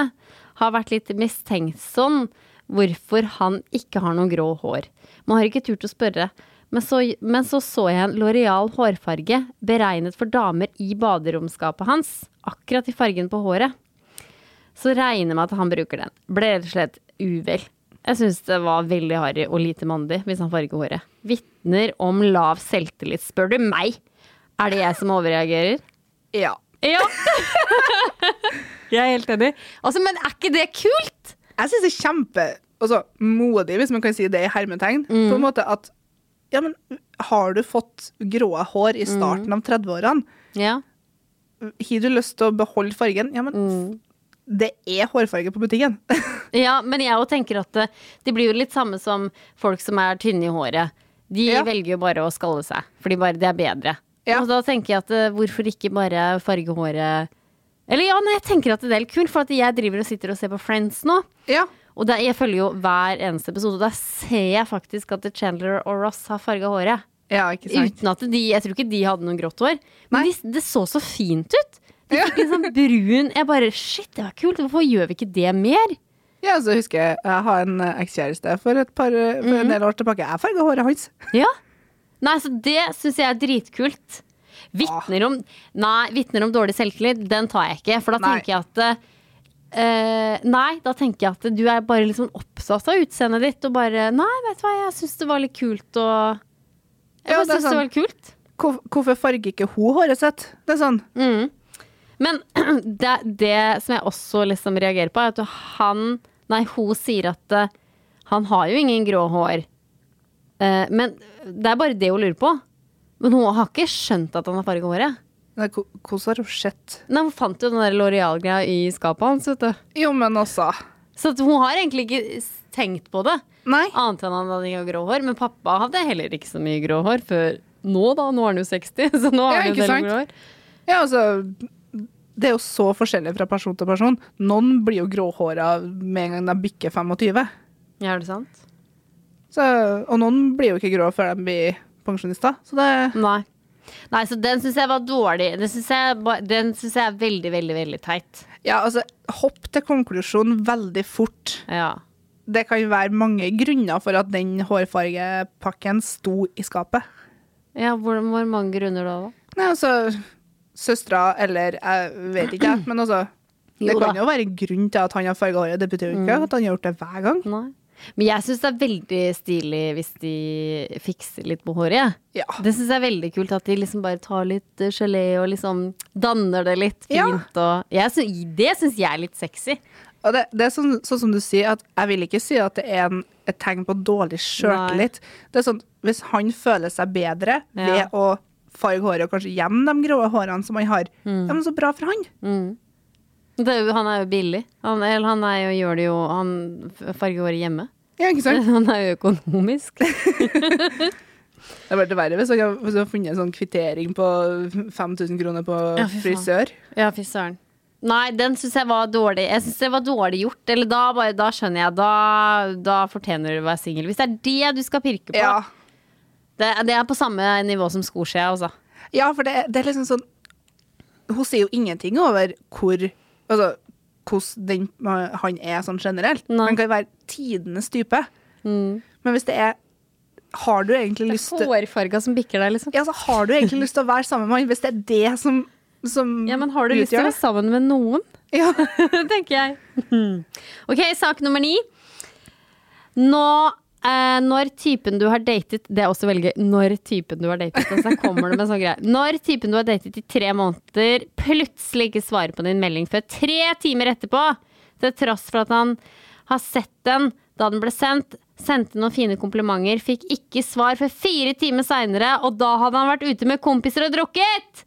Speaker 1: Har vært litt mistenksom hvorfor han ikke har noe grå hår. Man har ikke turt å spørre. Men så, men så så jeg en Loreal hårfarge beregnet for damer i baderomskapet hans. Akkurat i fargen på håret. Så regner jeg med at han bruker den. Ble rett og slett uvel. Jeg syns det var veldig harry og lite mandig hvis han farger håret. Vitner om lav selvtillit, spør du meg. Er det jeg som overreagerer?
Speaker 2: Ja.
Speaker 1: Ja. [LAUGHS] jeg er helt enig. Altså, men er ikke det kult?
Speaker 2: Jeg syns det er kjempe altså, modig, hvis man kan si det i hermetegn, på
Speaker 1: Mm.
Speaker 2: en måte at ja, men har du fått gråa hår i
Speaker 1: Mm.
Speaker 2: starten av 30-årene?
Speaker 1: Ja.
Speaker 2: Har du lyst til å beholde fargen? Ja, men
Speaker 1: Mm.
Speaker 2: det er hårfarge på butikken. [LAUGHS]
Speaker 1: ja, men jeg òg tenker at det, det blir jo litt samme som folk som er tynne i håret. De
Speaker 2: Ja.
Speaker 1: velger jo bare å skalle seg, fordi bare det er bedre.
Speaker 2: Ja.
Speaker 1: Og da tenker jeg at eh, hvorfor ikke bare farge håret Eller ja, nei, jeg tenker at det er litt kult, for at jeg driver og sitter og ser på Friends nå.
Speaker 2: ja.
Speaker 1: Og der, jeg følger jo hver eneste episode, og der ser jeg faktisk at Chandler og Ross har farga håret.
Speaker 2: ikke sant?
Speaker 1: Uten at de, Jeg tror ikke de hadde noe grått hår, men
Speaker 2: Nei.
Speaker 1: de, det så så fint ut. De
Speaker 2: Ja.
Speaker 1: fikk liksom brun Jeg bare Shit, det var kult. Hvorfor gjør vi ikke det mer?
Speaker 2: Ja, så husker jeg jeg har en eh, ekskjæreste for, et par, eh, for en del år tilbake. Jeg farga håret hans.
Speaker 1: Ja. Nei, så det syns jeg er dritkult. Vitner om Nei, vitner om dårlig selvtillit, den tar jeg ikke. For da
Speaker 2: Nei.
Speaker 1: tenker jeg at eh, Nei, da tenker jeg at du er bare liksom opptatt av utseendet ditt og bare Nei, vet du hva, jeg syns det var litt kult å Jeg
Speaker 2: Ja,
Speaker 1: bare
Speaker 2: det er
Speaker 1: syns det var
Speaker 2: sant.
Speaker 1: litt kult.
Speaker 2: Hvor, hvorfor farger ikke hun håret sitt? Det er sånn.
Speaker 1: Men [CLEARS THROAT] det, det som jeg også liksom reagerer på, er at han Nei, hun sier at eh, han har jo ingen grå hår. Eh, men det er bare det hun lurer på. Men hun har ikke skjønt at han har farga håret.
Speaker 2: Men ko- Hvordan har hun sett
Speaker 1: Nei, hun fant jo den der Loreal-greia i skapet hans, vet du.
Speaker 2: Jo, men altså. også
Speaker 1: Så at hun har egentlig ikke s- tenkt på det.
Speaker 2: Nei.
Speaker 1: Annet enn han hadde ikke grå hår. Men pappa hadde heller ikke så mye grå hår før nå, da. Nå er han jo 60, [LAUGHS] så nå
Speaker 2: Ja,
Speaker 1: har han
Speaker 2: ikke
Speaker 1: jo
Speaker 2: sant?
Speaker 1: del grå hår.
Speaker 2: Ja, altså Det er jo så forskjellig fra person til person. Noen blir jo gråhåra med en gang de bikker 25.
Speaker 1: Ja, er det sant?
Speaker 2: Så, og noen blir jo ikke grå før de blir pensjonister. Så det
Speaker 1: Nei. Nei, så den syns jeg var dårlig. Den syns jeg, ba- den synes jeg er veldig, veldig, veldig teit.
Speaker 2: Ja, altså, hopp til konklusjon veldig fort.
Speaker 1: Ja.
Speaker 2: Det kan jo være mange grunner for at den hårfargepakken sto i skapet.
Speaker 1: ja hvor, hvor mange grunner da, da?
Speaker 2: Nei, altså Søstera eller jeg vet ikke, jeg, men altså Det
Speaker 1: Jo
Speaker 2: kan
Speaker 1: da.
Speaker 2: jo Mm. være en grunn til at han har farga håret. Det betyr jo ikke at han har gjort det hver gang.
Speaker 1: Nei. Men jeg syns det er veldig stilig hvis de fikser litt på håret. jeg.
Speaker 2: Ja.
Speaker 1: Det syns jeg er veldig kult at de liksom bare tar litt eh, gelé og liksom danner det litt
Speaker 2: Ja.
Speaker 1: fint. Og jeg syns- det syns jeg er litt sexy.
Speaker 2: Og det, det er sånn, sånn som du sier, at jeg vil ikke si at det er en, et tegn på dårlig sjøltillit. Det er sånn, hvis han føler seg bedre
Speaker 1: Ja.
Speaker 2: ved å farge håret og kanskje gjemme de grå hårene som han har, ja, men så bra for han.
Speaker 1: Det er jo, han er jo billig. Han, eller han er jo, gjør det jo Han f- farger håret hjemme.
Speaker 2: Ja, ikke sant?
Speaker 1: [LAUGHS] Han er jo økonomisk.
Speaker 2: Det hadde vært verre hvis han hadde- hvis han hadde funnet en sånn kvittering på 5000 kroner på
Speaker 1: Ja, fy faen.
Speaker 2: frisør.
Speaker 1: Ja, fy søren. Nei, den syns jeg var dårlig. Jeg synes det var dårlig gjort. Eller da, bare, da skjønner jeg. Da, da fortjener du å være singel. Hvis det er det du skal pirke på.
Speaker 2: Ja.
Speaker 1: Det, det er på samme nivå som skoskje, altså.
Speaker 2: Ja, for det, det er liksom sånn Hun sier jo ingenting over hvor Altså hvordan den, han er sånn generelt.
Speaker 1: Nei. Mm.
Speaker 2: Han kan jo være tidenes type. Men hvis det er Har du egentlig lyst til
Speaker 1: Hårfarga som bikker deg, liksom.
Speaker 2: ja, altså, Har du egentlig lyst til å være sammen med han, hvis det er det som, som
Speaker 1: Ja, men har du lyst til å være sammen med noen?
Speaker 2: Ja.
Speaker 1: [LAUGHS] tenker jeg. Ok, sak nummer ni. Nå, eh, når typen du har datet Det er også veldig gøy. Når typen du har datet. Altså, her kommer det med sånn greier. Når typen du har datet i tre måneder, plutselig ikke svarer på din melding før tre timer etterpå, til tross for at han har sett den da den ble sendt, sendte noen fine komplimenter, fikk ikke svar før fire timer seinere, og da hadde han vært ute med kompiser og drukket!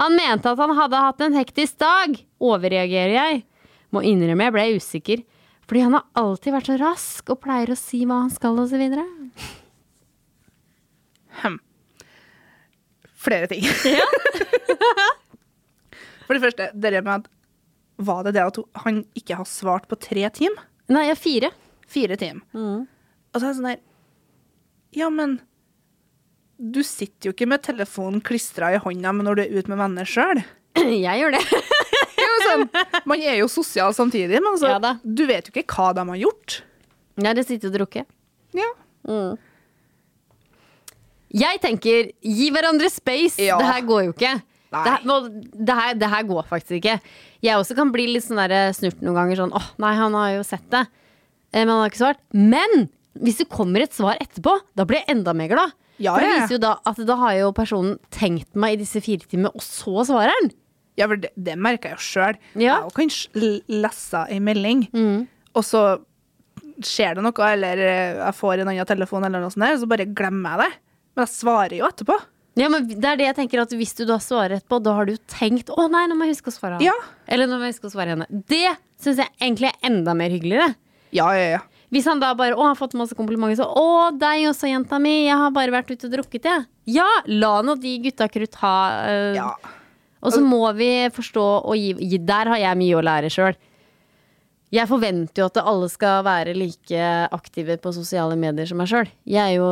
Speaker 1: Han mente at han hadde hatt en hektisk dag. Overreagerer jeg? Må innrømme jeg ble usikker. Fordi han har alltid vært så rask og pleier å si hva han skal osv.
Speaker 2: Flere ting. [LAUGHS] for det første, det der med at Var det det at hun, han ikke har svart på tre timer?
Speaker 1: Nei, jeg er fire. [CLEARS THROAT]
Speaker 2: Fire timer.
Speaker 1: Mm.
Speaker 2: Og så er det sånn der Ja, men du sitter jo ikke med telefonen klistra i hånda men når du er ute med venner sjøl.
Speaker 1: Jeg gjør det.
Speaker 2: Sånn, man er jo sosial samtidig, men altså,
Speaker 1: Ja da.
Speaker 2: du vet jo ikke hva de har gjort.
Speaker 1: Nei, det sitter og drukker.
Speaker 2: Ja.
Speaker 1: Jeg tenker gi hverandre space.
Speaker 2: Ja.
Speaker 1: Det her går jo ikke.
Speaker 2: Nei.
Speaker 1: Det her, nå- det, her, det her går faktisk ikke. Jeg også kan bli litt sånn der snurt noen ganger. Sånn, åh, nei, han har jo sett det. Eh, Men han har ikke svart. Men hvis det kommer et svar etterpå, da blir jeg enda mer glad.
Speaker 2: Ja,
Speaker 1: For det
Speaker 2: ja.
Speaker 1: viser jo da at da har jo personen tenkt meg i disse fire timene, og så svarer han.
Speaker 2: Ja, for det, det merker jeg jo sjøl.
Speaker 1: Ja.
Speaker 2: Jeg kan sj- l- lese ei melding, og så skjer det noe, eller eh, jeg får en annen telefon, eller noe sånt der, så bare glemmer jeg det. Men jeg svarer jo etterpå.
Speaker 1: Ja, men det er det jeg tenker at Hvis du da svarer etterpå, da har du jo tenkt å nei, nå må jeg huske å svare han.
Speaker 2: Ja.
Speaker 1: Eller nå må jeg huske å svare henne. Det syns jeg egentlig er enda mer hyggeligere.
Speaker 2: Ja, ja, ja.
Speaker 1: Hvis han da bare 'Å, jeg har fått masse komplimenter', så 'Å, deg også, jenta mi. Jeg har bare vært ute og drukket, jeg'. Ja, la nå de gutta krutt ha. eh,
Speaker 2: ja.
Speaker 1: Og så må vi forstå og gi, gi Der har jeg mye å lære sjøl. Jeg forventer jo at alle skal være like aktive på sosiale medier som meg sjøl. Jeg er jo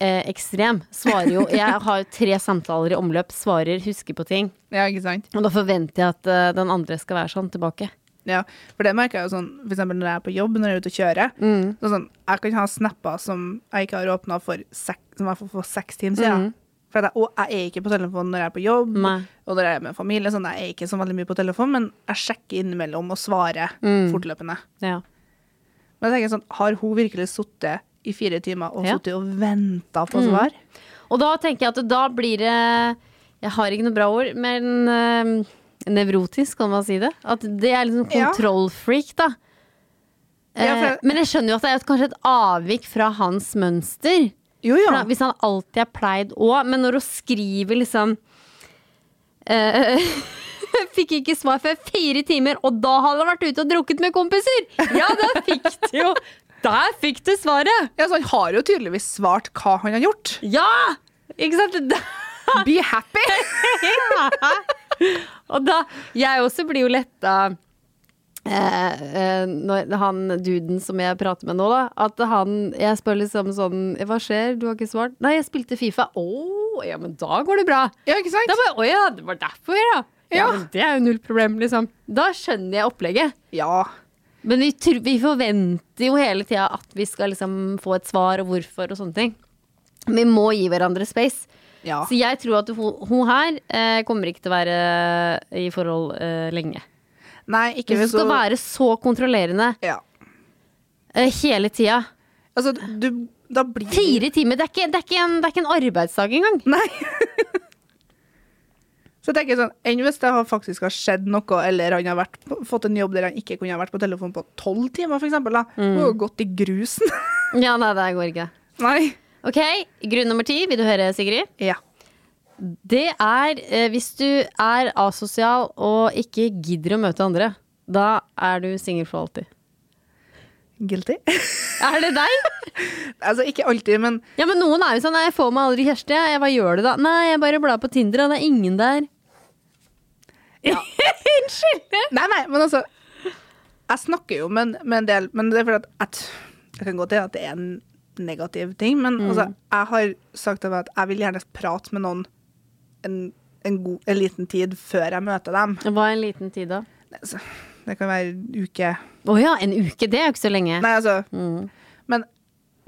Speaker 1: eh, ekstrem. Svarer jo Jeg har jo tre samtaler i omløp. Svarer, husker på ting.
Speaker 2: Ja, ikke sant?
Speaker 1: Og da forventer jeg at eh, den andre skal være sånn tilbake.
Speaker 2: Ja, for det merker jeg jo sånn, for eksempel når jeg er på jobb, når jeg er ute og kjører.
Speaker 1: Mm.
Speaker 2: Så sånn, jeg kan ha snapper som jeg ikke har åpna for, sek- som jeg får for seks timer siden. For at jeg, og jeg er ikke på telefonen når jeg er på jobb,
Speaker 1: Mm. Nei.
Speaker 2: og når jeg er med familie. Sånn, jeg er ikke så veldig mye på telefon, men jeg sjekker innimellom og svarer
Speaker 1: Mm.
Speaker 2: fortløpende.
Speaker 1: Ja.
Speaker 2: Men jeg tenker sånn, har hun virkelig sittet i fire timer og
Speaker 1: Ja. Mm.
Speaker 2: sittet og venta på svar?
Speaker 1: Og da tenker jeg at da blir det Jeg har ikke noe bra ord, men eh, nevrotisk, kan man si det. At det er liksom
Speaker 2: Ja.
Speaker 1: kontrollfreak, da.
Speaker 2: Ja, for-
Speaker 1: Eh, men jeg skjønner jo at det er et- kanskje et avvik fra hans mønster.
Speaker 2: Jo,
Speaker 1: For
Speaker 2: ja.
Speaker 1: da, hvis han alltid er pleid òg, men når hun skriver liksom eh, [LAUGHS] Fikk ikke svar før fire timer, og da hadde han vært ute og drukket med kompiser! Ja, da fikk du jo Der fikk du svaret!
Speaker 2: ja så han har jo tydeligvis svart hva han har gjort.
Speaker 1: Ja! Ikke sant? [LAUGHS] Da,
Speaker 2: Be happy!
Speaker 1: [LAUGHS] og da Jeg også blir jo letta eh, eh, når han duden som jeg prater med nå, da, at han Jeg spør liksom sånn Hva skjer? Du har ikke svart? Nei, jeg spilte Fifa. Å, ja, men da går det bra.
Speaker 2: Ja, ikke sant?
Speaker 1: Da bare, Å ja, det var derfor, ja. ja.
Speaker 2: Ja.
Speaker 1: men det er jo null problem, liksom. Da skjønner jeg opplegget.
Speaker 2: Ja.
Speaker 1: Men vi, tr- vi forventer jo hele tida at vi skal liksom få et svar og hvorfor og sånne ting. Vi må gi hverandre space.
Speaker 2: Ja.
Speaker 1: Så jeg tror at hun, hun her eh, kommer ikke til å være i forhold eh, lenge.
Speaker 2: Nei, ikke
Speaker 1: Hvis
Speaker 2: hvis
Speaker 1: hun skal
Speaker 2: hun-
Speaker 1: være så kontrollerende
Speaker 2: Ja.
Speaker 1: eh, hele tida.
Speaker 2: Altså, du Da blir
Speaker 1: Fire timer! Det er ikke, det er ikke, en, det er ikke en arbeidsdag engang.
Speaker 2: Nei. [LAUGHS] Så jeg tenker sånn, Enn hvis det har faktisk har skjedd noe, eller han har vært, på- fått en jobb der han ikke kunne ha vært på telefon på tolv timer, f.eks. da Hun har jo gått i grusen. [LAUGHS]
Speaker 1: Ja, nei, det går ikke.
Speaker 2: Nei.
Speaker 1: Ok, grunn nummer ti. Vil du høre, Sigrid?
Speaker 2: Ja.
Speaker 1: Det er eh, hvis du er asosial og ikke gidder å møte andre. Da er du singel for alltid.
Speaker 2: Guilty. [LAUGHS]
Speaker 1: Er det deg?
Speaker 2: altså, ikke alltid, men
Speaker 1: Ja, men noen er jo sånn. Nei, jeg får meg aldri kjæreste. jeg. Jeg, hva gjør du da? Nei, jeg bare blar på Tinder, og det er ingen der. [LAUGHS] Unnskyld!
Speaker 2: Nei, nei, men altså Jeg snakker jo med en- med en del, men det er fordi at jeg, t- jeg kan godt til at det er en negativ ting, men altså, jeg har sagt til meg at jeg vil gjerne prate med noen en, en, god, en liten tid før jeg møter dem.
Speaker 1: Hva er en liten tid, da?
Speaker 2: Altså, Det kan være uke
Speaker 1: Å ja, en uke. Det er jo ikke så lenge.
Speaker 2: Nei, altså. Men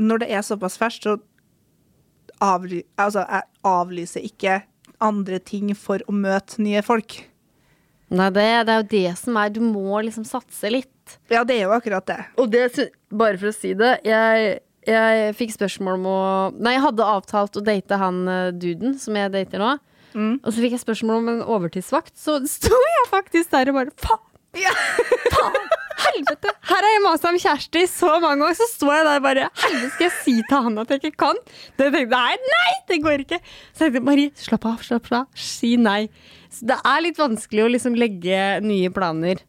Speaker 2: når det er såpass ferskt, så avly, altså, jeg avlyser ikke andre ting for å møte nye folk.
Speaker 1: Nei, det, det er jo det som er Du må liksom satse litt.
Speaker 2: Ja, det er jo akkurat det.
Speaker 1: Og det, sy- bare for å si det, jeg, jeg fikk spørsmål om å Nei, jeg hadde avtalt å date han eh, duden som jeg dater nå. Og så fikk jeg spørsmål om en overtidsvakt, så sto jeg faktisk der og bare faen! Faen! Helvete! Her har jeg masa om kjæreste i så mange år, så står jeg der og bare Helvete, skal jeg si til han at jeg ikke kan? Det tenkte jeg, nei, nei, det går ikke. Så tenkte jeg, Marie, slapp av, slapp av, si nei. Så det er litt vanskelig å liksom legge nye planer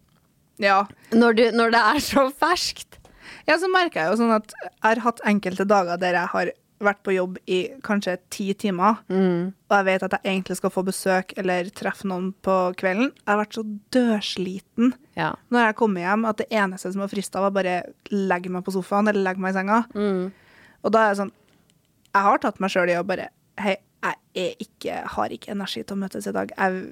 Speaker 2: Ja.
Speaker 1: når, du, når det er så ferskt.
Speaker 2: Ja, så merker jeg jo sånn at jeg har hatt enkelte dager der jeg har vært på jobb i kanskje ti timer, og jeg vet at jeg egentlig skal få besøk eller treffe noen på kvelden. Jeg har vært så dørsliten
Speaker 1: Ja.
Speaker 2: når jeg kommer hjem at det eneste som var frista, var bare legge meg på sofaen eller legge meg i senga.
Speaker 1: Mm.
Speaker 2: Og da er jeg sånn Jeg har tatt meg sjøl i å bare Hei, jeg er ikke, har ikke energi til å møtes i dag. Jeg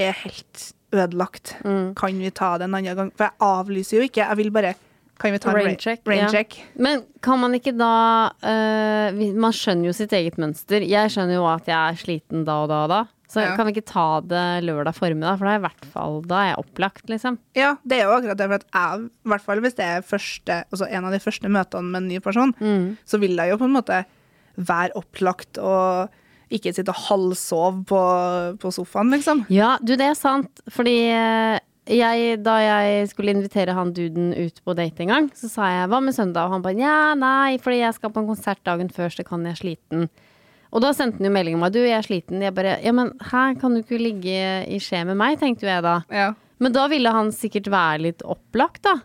Speaker 2: er helt ødelagt.
Speaker 1: Mm.
Speaker 2: Kan vi ta det en annen gang? For jeg avlyser jo ikke. Jeg vil bare Kan vi ta en
Speaker 1: Rain check,
Speaker 2: rain
Speaker 1: ja.
Speaker 2: check?
Speaker 1: Men kan man ikke da eh, vi- Man skjønner jo sitt eget mønster. Jeg skjønner jo at jeg er sliten da og da og da. Så
Speaker 2: Ja.
Speaker 1: kan vi ikke ta det lørdag formiddag, for da er, jeg i hvert fall, da er jeg opplagt, liksom.
Speaker 2: Ja, det er jo akkurat det. For at jeg, i hvert fall hvis det er første, altså en av de første møtene med en ny person,
Speaker 1: Mm.
Speaker 2: så vil jeg jo på en måte være opplagt og ikke sitte og halvsove på, på sofaen, liksom.
Speaker 1: Ja, du, det er sant. Fordi eh, jeg, da jeg skulle invitere han duden ut på date en gang, så sa jeg 'hva med søndag?' Og han bare 'ja, nei, fordi jeg skal på en konsert dagen før, så kan jeg sliten'. Og da sendte han jo melding om meg 'du, jeg er sliten'. Jeg bare 'ja, men her kan du ikke ligge i skje med meg', tenkte jo jeg da.
Speaker 2: Ja,
Speaker 1: Men da ville han sikkert være litt opplagt, da.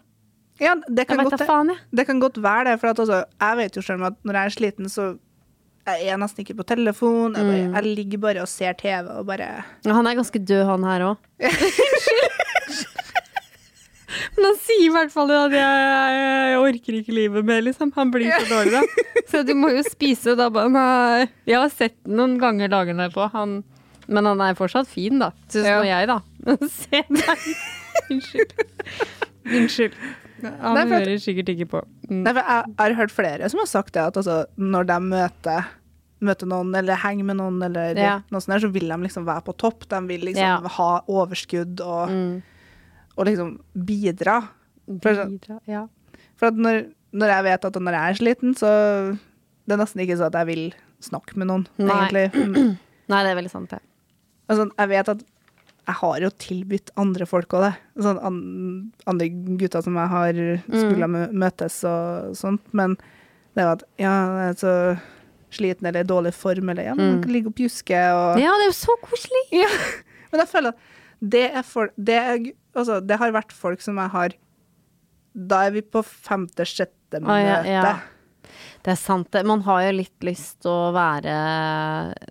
Speaker 2: ja det, kan
Speaker 1: Jeg vet
Speaker 2: godt,
Speaker 1: da faen, jeg.
Speaker 2: det kan godt være det. For at altså, jeg vet jo selv at når jeg er sliten, så jeg er jeg nesten ikke på telefon. Jeg,
Speaker 1: Mm.
Speaker 2: bare, jeg ligger bare og ser TV og bare
Speaker 1: Ja, Han er ganske død, han her òg. [LAUGHS] Men han sier i hvert fall at jeg, jeg orker ikke livet mer, liksom. Han blir så dårlig, da. [LAUGHS] Så du må jo spise, og da bare Nei. Jeg har sett den noen ganger dagene på. Han, men han er fortsatt fin, da. Syns
Speaker 2: Ja.
Speaker 1: nå jeg, da. [LAUGHS] Men Se deg. Unnskyld. Unnskyld. Han
Speaker 2: Nei, for at-
Speaker 1: hører sikkert ikke på. Mm.
Speaker 2: Nei, for jeg har hørt flere som har sagt det, at altså, når de møter, møter noen, eller henger med noen, eller
Speaker 1: Ja.
Speaker 2: noe sånt der, så vil de liksom være på topp. De vil liksom
Speaker 1: Ja. Mm.
Speaker 2: ha overskudd og, og liksom bidra. For, så-
Speaker 1: Bidra- Ja.
Speaker 2: for at når, når jeg vet at når jeg er sliten, så det er nesten ikke sånn at jeg vil snakke med noen,
Speaker 1: Nei.
Speaker 2: egentlig. Mm.
Speaker 1: Nei, det er veldig sant, det.
Speaker 2: Altså, jeg vet at jeg har jo tilbudt andre folk òg det. Sånn an, andre gutter som jeg
Speaker 1: Mm.
Speaker 2: har skulle mø- møtes og sånt. Men det var at ja, altså sliten eller i dårlig form, eller ja, man ligger og pjusker og
Speaker 1: Mm. Ja, det er jo så koselig!
Speaker 2: ja. Men jeg føler at det er folk det, er, altså, det har vært folk som jeg har Da er vi på femte-sjette møte.
Speaker 1: Ah, ja, ja. Det er sant. det. Man har jo litt lyst til å være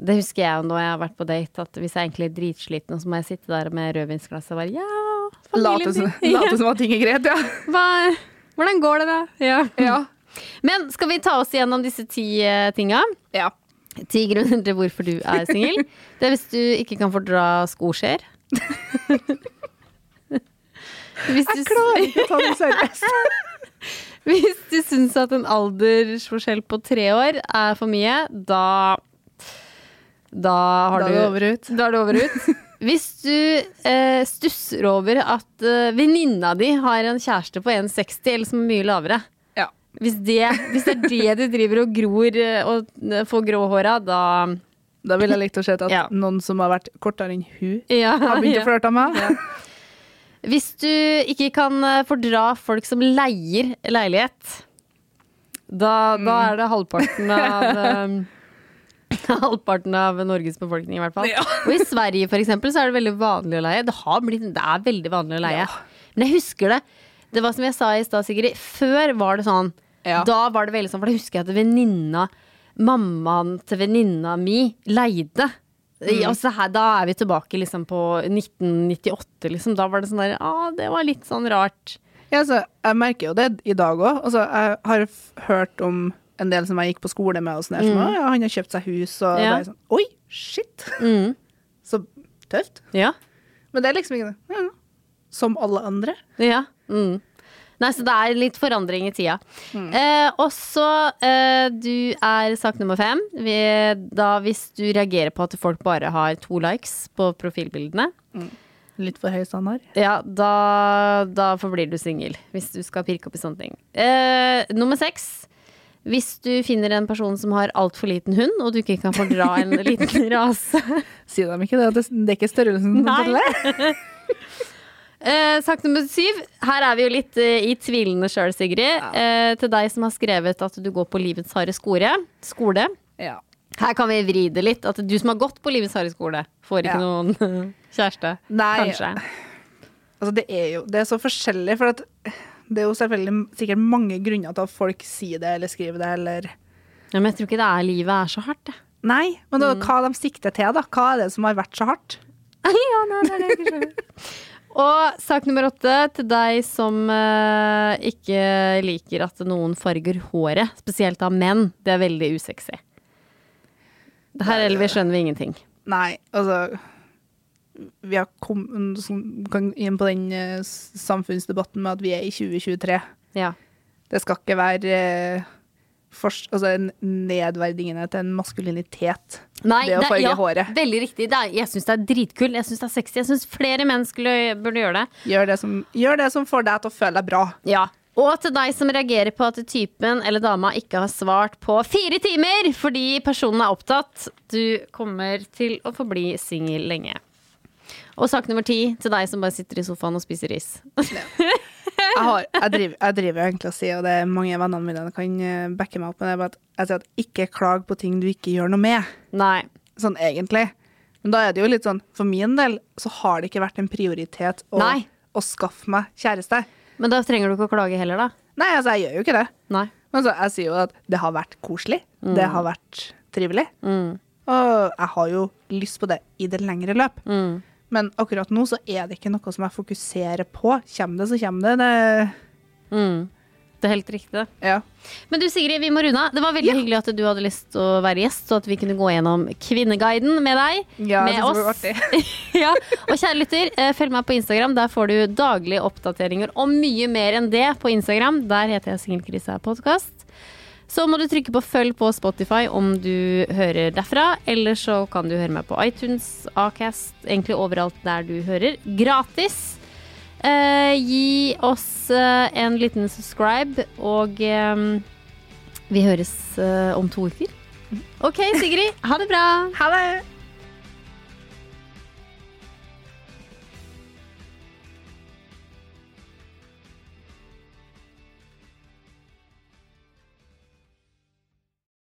Speaker 1: Det husker jeg jo når jeg har vært på date, at hvis jeg egentlig er dritsliten, og så må jeg sitte der med rødvinsglasset og bare Ja,
Speaker 2: Late
Speaker 1: familien [LAUGHS]
Speaker 2: som,
Speaker 1: din!
Speaker 2: late som at ting er greit, ja.
Speaker 1: Hva, hvordan går det, da? Ja.
Speaker 2: Ja.
Speaker 1: Men skal vi ta oss gjennom disse ti eh, tinga?
Speaker 2: ja.
Speaker 1: Ti grunner til hvorfor du er
Speaker 2: [LAUGHS]
Speaker 1: singel. Det er hvis du ikke kan fordra skoskjeer. Hvis du,
Speaker 2: Jeg klarer ikke å ta det
Speaker 1: [LAUGHS]
Speaker 2: seriøst.
Speaker 1: hvis du syns at en aldersforskjell på tre år er for mye, da Da har
Speaker 2: Da er
Speaker 1: du
Speaker 2: det over og ut.
Speaker 1: Da er det over og
Speaker 2: [LAUGHS]
Speaker 1: ut. Hvis du eh, stusser over at eh, venninna di har en kjæreste på 1,60 eller som er mye lavere
Speaker 2: Ja.
Speaker 1: Hvis det, hvis det er det du driver og gror eh, og eh, får grå hår av, da
Speaker 2: Da ville jeg likt å se at
Speaker 1: [LAUGHS] Ja.
Speaker 2: noen som har vært kortere enn hun,
Speaker 1: [LAUGHS] Ja,
Speaker 2: har
Speaker 1: ja.
Speaker 2: begynt å flørte med meg.
Speaker 1: Hvis du ikke kan eh, fordra folk som leier leilighet, da, da er det halvparten av eh, [LAUGHS] Halvparten av Norges befolkning, i hvert fall.
Speaker 2: Ja.
Speaker 1: Og i Sverige for eksempel, så er det veldig vanlig å leie. Det, har blitt, det er veldig vanlig å leie. Men jeg husker det. Det var som jeg sa i stad, Sigrid. Før var det sånn.
Speaker 2: Ja.
Speaker 1: Da var det veldig sånn, for da husker jeg at venninna Mammaen til venninna mi leide. I- Altså her, da er vi tilbake liksom på 1998, liksom. Da var det sånn der ah, det var litt sånn rart.
Speaker 2: Ja, altså, jeg merker jo det i dag òg. Altså, jeg har f hørt om en del som jeg gikk på skole med, og sånn der, som, «Å, ja, han har kjøpt seg hus, og
Speaker 1: Mm. Ja. Mm.
Speaker 2: bare sånn Oi, shit! [LAUGHS] Så tøft.
Speaker 1: Ja.
Speaker 2: Men det er liksom ikke det. Ja, ja. Som alle andre.
Speaker 1: Ja. Mm. Nei, så det er litt forandring i tida. Eh, og så eh, du er sak nummer fem. Vi, da hvis du reagerer på at folk bare har to likes på profilbildene,
Speaker 2: Litt for høy standard.
Speaker 1: ja, da, da forblir du singel. Hvis du skal pirke opp i sånne ting. Eh, nummer seks. Hvis du finner en person som har altfor liten hund, og du ikke kan fordra en liten rase.
Speaker 2: Sier de ikke det? at Det det er ikke størrelsen som
Speaker 1: Nei.
Speaker 2: teller?
Speaker 1: [LAUGHS] Eh, sak nummer syv. Her er vi jo litt eh, i tvilene sjøl, Sigrid. Eh, til deg som har skrevet at du går på livets harde skole. skole.
Speaker 2: Ja.
Speaker 1: Her kan vi vri det litt. At du som har gått på livets harde skole, får ikke
Speaker 2: Ja.
Speaker 1: noen [LAUGHS] kjæreste.
Speaker 2: Nei.
Speaker 1: Kanskje.
Speaker 2: Altså, det er jo det er så forskjellig, for at det er jo selvfølgelig sikkert mange grunner til at folk sier det eller skriver det, eller
Speaker 1: Ja, men jeg tror ikke det er livet er så hardt, jeg.
Speaker 2: Nei, men da, hva de sikter til, da? Hva er det som har vært så hardt?
Speaker 1: [LAUGHS] ja, nei, det er det jeg ikke skjønner. [LAUGHS] Og sak nummer åtte til deg som eh, ikke liker at noen farger håret, spesielt av menn. Det er veldig usexy. Det her ellers skjønner vi ingenting.
Speaker 2: Nei, altså Vi har kommet sånn, inn på den eh, s- samfunnsdebatten med at vi er i 2023.
Speaker 1: Ja.
Speaker 2: Det skal ikke være eh, fors- altså, en nedverdigende til en maskulinitet.
Speaker 1: Nei,
Speaker 2: det å farge
Speaker 1: ja,
Speaker 2: håret.
Speaker 1: Veldig riktig. Det er, jeg syns det er dritkult. Jeg syns det er sexy. Jeg syns flere menn skulle, burde gjøre det.
Speaker 2: Gjør det, som, gjør det som får deg til å føle deg bra.
Speaker 1: Ja. Og til deg som reagerer på at typen eller dama ikke har svart på fire timer fordi personen er opptatt, du kommer til å forbli singel lenge. Og sak nummer ti til deg som bare sitter i sofaen og spiser ris.
Speaker 2: Jeg, har, jeg, driver, jeg driver egentlig og sier, og det er mange av vennene mine som kan eh, backe meg opp med det, bare at jeg sier at ikke klag på ting du ikke gjør noe med.
Speaker 1: [LAUGHS] Nei.
Speaker 2: Sånn egentlig. Men da er det jo litt sånn, for min del så har det ikke vært en prioritet å,
Speaker 1: Nei.
Speaker 2: å skaffe meg kjæreste.
Speaker 1: Men da trenger du ikke å klage heller, da.
Speaker 2: Nei, altså, jeg gjør jo ikke det.
Speaker 1: Nei.
Speaker 2: Men altså, jeg sier jo at det har vært koselig.
Speaker 1: Mm.
Speaker 2: Det har vært trivelig. Og jeg har jo lyst på det i det lengre løp.
Speaker 1: Mm.
Speaker 2: Men akkurat nå så er det ikke noe som jeg fokuserer på. Kommer det, så kommer det. det
Speaker 1: Det er helt riktig.
Speaker 2: ja.
Speaker 1: Men du Sigrid, vi må runde av. Det var veldig hyggelig at du hadde lyst til å være gjest, og at vi kunne gå gjennom Kvinneguiden med deg.
Speaker 2: Ja, jeg
Speaker 1: med
Speaker 2: synes det var
Speaker 1: [LAUGHS] ja. Og kjære lytter, eh, følg meg på Instagram. Der får du daglige oppdateringer og mye mer enn det på Instagram. Der heter jeg Singelkrisa podkast. Så må du trykke på følg på Spotify om du hører derfra. Eller så kan du høre meg på iTunes, Acast, egentlig overalt der du hører. Gratis. Eh, gi oss eh, en liten subscribe, og eh, vi høres eh, om to uker. OK, Sigrid. [LAUGHS] Ha det bra.
Speaker 2: [LAUGHS] Ha det!